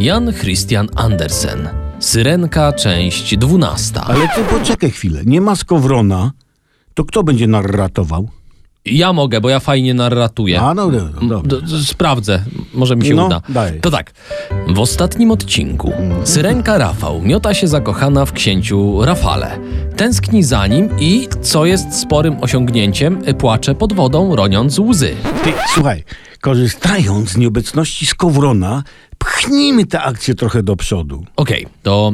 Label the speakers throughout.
Speaker 1: Jan Christian Andersen. Syrenka, część 12.
Speaker 2: Ale ty poczekaj chwilę, nie ma skowrona, to kto będzie narratował?
Speaker 1: Ja mogę, bo ja fajnie narratuję.
Speaker 2: A no, no, no dobra.
Speaker 1: D- d- Sprawdzę, może mi się
Speaker 2: No,
Speaker 1: uda.
Speaker 2: daj.
Speaker 1: To tak, w ostatnim odcinku Syrenka Rafał miota się zakochana w księciu Rafale. Tęskni za nim i, co jest sporym osiągnięciem, płacze pod wodą, roniąc łzy.
Speaker 2: Ty, słuchaj, korzystając z nieobecności skowrona, pchnijmy tę akcję trochę do przodu.
Speaker 1: Okej, to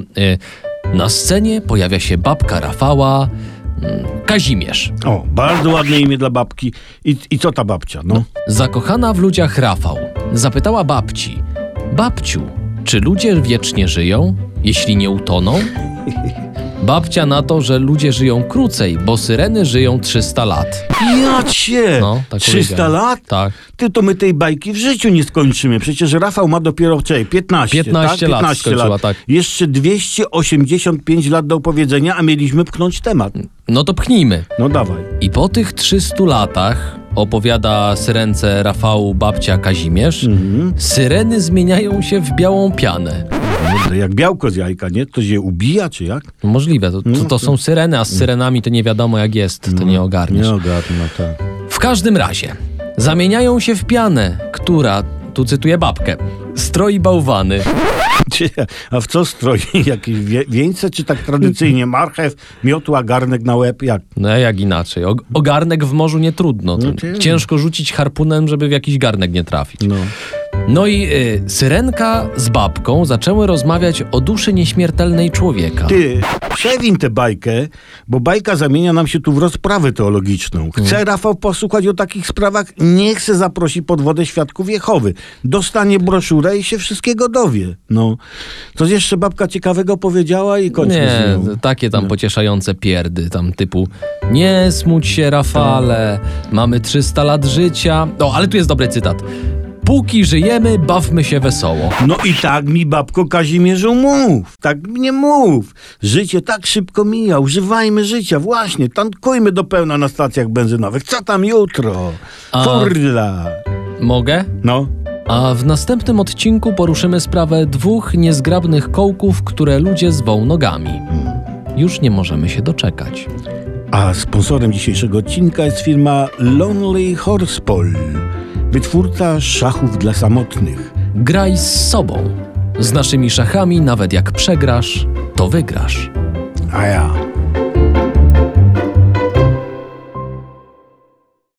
Speaker 1: y, na scenie pojawia się babka Rafała, mm, Kazimierz.
Speaker 2: O, bardzo ładne imię dla babki. I, i co ta babcia, no?
Speaker 1: Zakochana w ludziach Rafał zapytała babci: Babciu, czy ludzie wiecznie żyją, jeśli nie utoną? Babcia na to, że ludzie żyją krócej, bo syreny żyją 300 lat.
Speaker 2: Ja cię!
Speaker 1: No, tak
Speaker 2: 300
Speaker 1: powiedziałem.
Speaker 2: lat?
Speaker 1: Tak.
Speaker 2: Ty to my tej bajki w życiu nie skończymy. Przecież Rafał ma dopiero czekaj, 15,
Speaker 1: 15
Speaker 2: tak?
Speaker 1: lat skończyła, tak.
Speaker 2: Jeszcze 285 lat do opowiedzenia, a mieliśmy pchnąć temat.
Speaker 1: No to pchnijmy.
Speaker 2: No dawaj.
Speaker 1: I po tych 300 latach, opowiada syrence Rafału babcia Kazimierz, syreny zmieniają się w białą pianę.
Speaker 2: Kurde, jak białko z jajka, nie? To się ubija, czy jak?
Speaker 1: No Możliwe, to, to, to są syreny, a z syrenami to nie wiadomo jak jest, to nie
Speaker 2: no,
Speaker 1: ogarniesz.
Speaker 2: ogarnę, tak.
Speaker 1: W każdym razie zamieniają się w pianę, która, tu cytuję babkę, stroi bałwany.
Speaker 2: A w co stroi? Jakieś wie, wieńce, czy tak tradycyjnie? Marchew, miotła, garnek na łeb, jak?
Speaker 1: No jak inaczej, o, o garnek w morzu nie trudno. To
Speaker 2: No tak.
Speaker 1: ciężko rzucić harpunem, żeby w jakiś garnek nie trafić.
Speaker 2: No.
Speaker 1: No i y, syrenka z babką zaczęły rozmawiać o duszy nieśmiertelnej człowieka.
Speaker 2: Ty, przewiń tę bajkę, bo bajka zamienia nam się tu w rozprawę teologiczną. Chce Rafał posłuchać o takich sprawach, nie chce zaprosić pod wodę świadków Jehowy. Dostanie broszurę i się wszystkiego dowie. No, coś jeszcze babka ciekawego powiedziała i kończmy
Speaker 1: Nie,
Speaker 2: z nią.
Speaker 1: takie tam pocieszające pierdy, tam typu Nie smuć się, Rafale, mamy 300 lat życia. O, ale tu jest dobry cytat. Póki żyjemy, bawmy się wesoło.
Speaker 2: No i tak mi babko Kazimierzu mów, tak mnie mów. Życie tak szybko mija, używajmy życia, właśnie, tankujmy do pełna na stacjach benzynowych. Co tam jutro?
Speaker 1: A-
Speaker 2: Forla.
Speaker 1: Mogę?
Speaker 2: No,
Speaker 1: A w następnym odcinku poruszymy sprawę dwóch niezgrabnych kołków, które ludzie zwą nogami. Już nie możemy się doczekać.
Speaker 2: a sponsorem dzisiejszego odcinka jest firma Lonely Horsepol, wytwórca szachów dla samotnych.
Speaker 1: Graj z sobą. Z naszymi szachami, nawet jak przegrasz, to wygrasz.
Speaker 2: A ja...